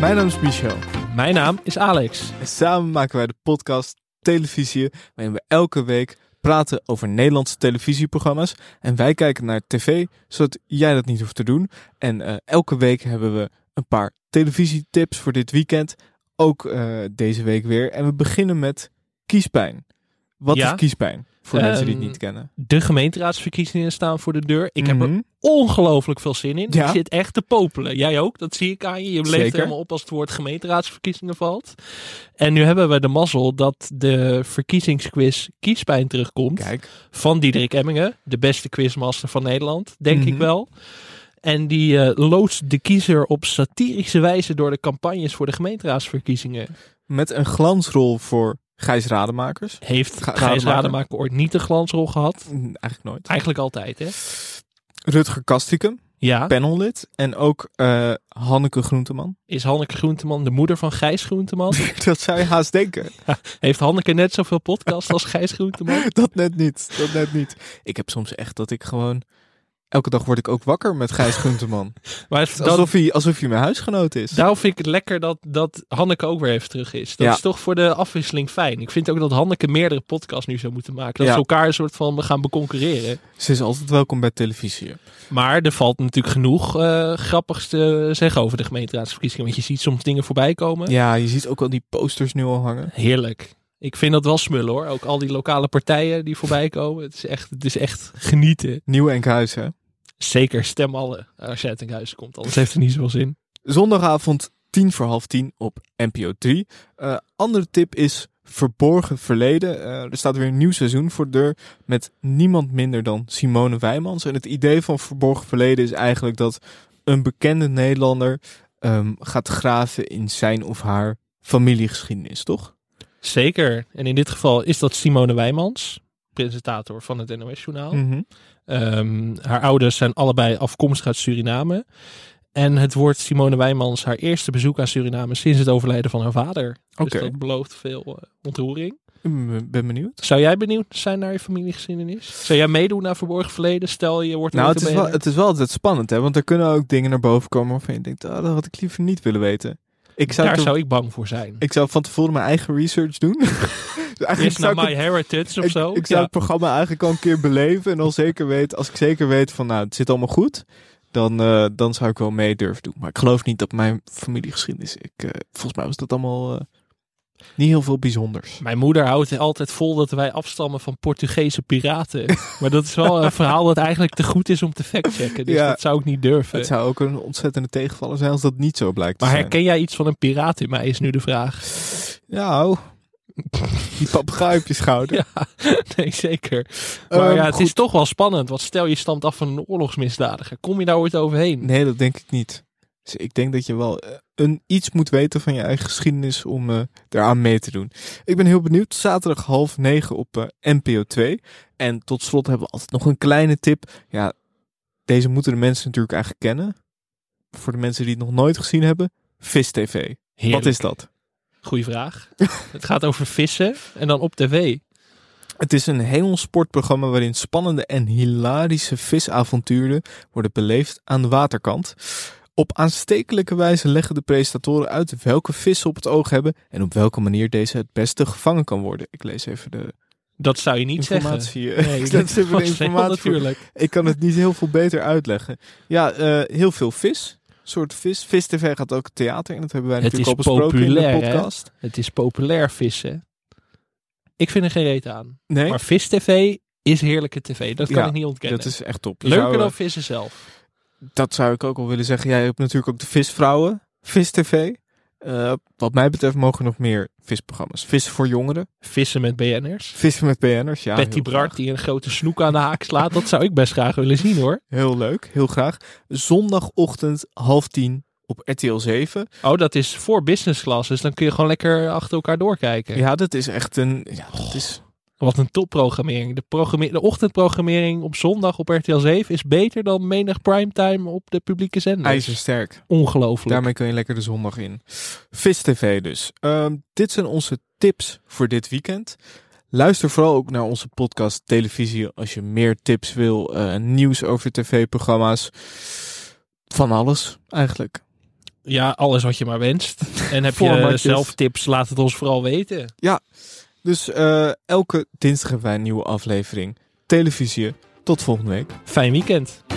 Mijn naam is Michel. Mijn naam is Alex. En samen maken wij de podcast Televisie, waarin we elke week praten over Nederlandse televisieprogramma's. En wij kijken naar tv, zodat jij dat niet hoeft te doen. En eh, elke week hebben we een paar televisietips voor dit weekend. Ook eh, deze week weer. En we beginnen met kiespijn. Wat Ja. is kiespijn? Voor mensen die het Ehm, niet kennen. De gemeenteraadsverkiezingen staan voor de deur. Ik heb er Mhm. ongelooflijk veel zin in. Ja. Ik zit echt te popelen. Jij ook, dat zie ik aan je. Je leeft Zeker. helemaal op als het woord gemeenteraadsverkiezingen valt. En nu hebben we de mazzel dat de verkiezingsquiz Kiespijn terugkomt. Kijk, Van Diederik Emmingen, de beste quizmaster van Nederland, denk Mhm. ik wel. En die eh, loodst de kiezer op satirische wijze door de campagnes voor de gemeenteraadsverkiezingen. met een glansrol voor Gijs Rademakers. Heeft Ga- Gijs Rademaker. Rademaker ooit niet een glansrol gehad? Mm, Eigenlijk nooit. Eigenlijk altijd, hè? Rutger Kastikum. Ja. panellid. En ook eh, Hanneke Groenteman. Is Hanneke Groenteman de moeder van Gijs Groenteman? dat zou je haast denken. Heeft Hanneke net zoveel podcasts als Gijs Groenteman? Dat net niet. Dat net niet. Ik heb soms echt dat ik gewoon... Elke dag word ik ook wakker met Gijs Groenteman. Maar Het het- is dat- Alsof hij, alsof hij mijn huisgenoot is. daarom vind ik het lekker dat, dat Hanneke ook weer even terug is. Dat Ja. is toch voor de afwisseling fijn. Ik vind ook dat Hanneke meerdere podcasts nu zou moeten maken. Dat Ja. ze elkaar een soort van gaan beconcurreren. Ze is altijd welkom bij televisie. Maar er valt natuurlijk genoeg eh, grappigs te zeggen over de gemeenteraadsverkiezingen. Want je ziet soms dingen voorbij komen. Ja, je ziet ook al die posters nu al hangen. Heerlijk. Ik vind dat wel smullen hoor. Ook al die lokale partijen die voorbij komen. Het is echt, het is echt genieten. Nieuw Enkhuis, hè? Zeker stem alle eh, als je uit een huis komt. Anders heeft het niet zoveel zin. Zondagavond tien voor half tien op NPO 3. Eh, andere tip is Verborgen Verleden. Eh, er staat weer een nieuw seizoen voor de deur met niemand minder dan Simone Wijmans. En het idee van Verborgen Verleden is eigenlijk dat een bekende Nederlander ehm, gaat graven in zijn of haar familiegeschiedenis, toch? Zeker. En in dit geval is dat Simone Wijmans, presentator van het NOS-journaal. Mhm. Ehm, haar ouders zijn allebei afkomstig uit Suriname. En het wordt Simone Wijmans haar eerste bezoek aan Suriname sinds het overlijden van haar vader. Oké. Dus dat belooft veel eh, ontroering. Ik ben- ben benieuwd. Zou jij benieuwd zijn naar je familiegeschiedenis? Zou jij meedoen naar verborgen verleden? Stel je wordt Nou, het is, notabene- wel, het is wel altijd spannend, hè? Want er kunnen ook dingen naar boven komen waarvan je denkt, ah, dat had ik liever niet willen weten. Ik zou Daar het- zou ik bang voor zijn. Ik zou van tevoren mijn eigen research doen. Dus Eerst zou naar ik het- My Heritage of ik, zo. ik zou Ja. het programma eigenlijk al een keer beleven. En al zeker weet, als ik zeker weet van nou, het zit allemaal goed. Dan, eh, dan zou ik wel mee durven doen. Maar ik geloof niet dat mijn familiegeschiedenis... Ik, eh, volgens mij was dat allemaal eh, niet heel veel bijzonders. Mijn moeder houdt altijd vol dat wij afstammen van Portugese piraten. Maar dat is wel een verhaal dat eigenlijk te goed is om te factchecken. Dus Ja. dat zou ik niet durven. Het zou ook een ontzettende tegenvaller zijn als dat niet zo blijkt te Maar zijn. herken jij iets van een piraat in mij, is nu de vraag. Nou, die papegaai op je schouder. Nee, zeker. Maar Ehm, ja, het goed. is toch wel spannend. Want stel je stamt af van een oorlogsmisdadiger. Kom je daar ooit overheen? Nee, dat denk ik niet. Dus ik denk dat je wel eh, een, iets moet weten van je eigen geschiedenis om eh daaraan mee te doen. Ik ben heel benieuwd. Zaterdag half negen op eh, NPO 2. En tot slot hebben we altijd nog een kleine tip. Ja, deze moeten de mensen natuurlijk eigenlijk kennen. Voor de mensen die het nog nooit gezien hebben. Vis TV. Wat Heerlijk. is dat? Goeie vraag. het gaat over vissen en dan op tv. Het is een heel sportprogramma waarin spannende en hilarische visavonturen worden beleefd aan de waterkant. Op aanstekelijke wijze leggen de presentatoren uit welke vissen op het oog hebben en op welke manier deze het beste gevangen kan worden. Ik lees even de Dat zou je niet zeggen. informatie. eh, Nee, ik lees even de was heel informatie voor. natuurlijk. Ik kan het niet heel veel beter uitleggen. Ja, eh, heel veel vis. Soort vis. Vis TV gaat ook theater in. Dat hebben wij Het natuurlijk is al besproken in de populair, hè? podcast. Het is populair vissen. Ik vind er geen reet aan. Nee, Maar vis tv is heerlijke tv. Dat kan Ja, ik niet ontkennen. dat is echt top. Je zou, Leuker eh, dan vissen zelf. dat zou ik ook wel willen zeggen. Jij hebt natuurlijk ook de Visvrouwen, Vis TV. Eh, wat mij betreft mogen er nog meer visprogramma's. Vissen voor jongeren, Vissen met BN'ers. vissen met BN'ers. Ja, Betty heel Bart graag. die een grote snoek aan de haak slaat. Dat zou ik best graag willen zien hoor. Heel leuk, heel graag. Zondagochtend half tien op RTL 7. Oh, dat is voor business class. Dus dan kun je gewoon lekker achter elkaar doorkijken. Ja, dat is echt een... Ja, dat is, Wat een topprogrammering. De, programme- de ochtendprogrammering op zondag op RTL 7 is beter dan menig primetime op de publieke zender. ijzersterk. Ongelooflijk. Daarmee kun je lekker de zondag in. Vis TV dus. Ehm, dit zijn onze tips voor dit weekend. Luister vooral ook naar onze podcast Televisie als je meer tips wil. eh, nieuws over tv-programma's. Van alles eigenlijk. Ja, alles wat je maar wenst. En heb je Formatjes. zelf tips, laat het ons vooral weten. Dus eh, elke dinsdag hebben wij een nieuwe aflevering. Televisie. Tot volgende week. Fijn weekend.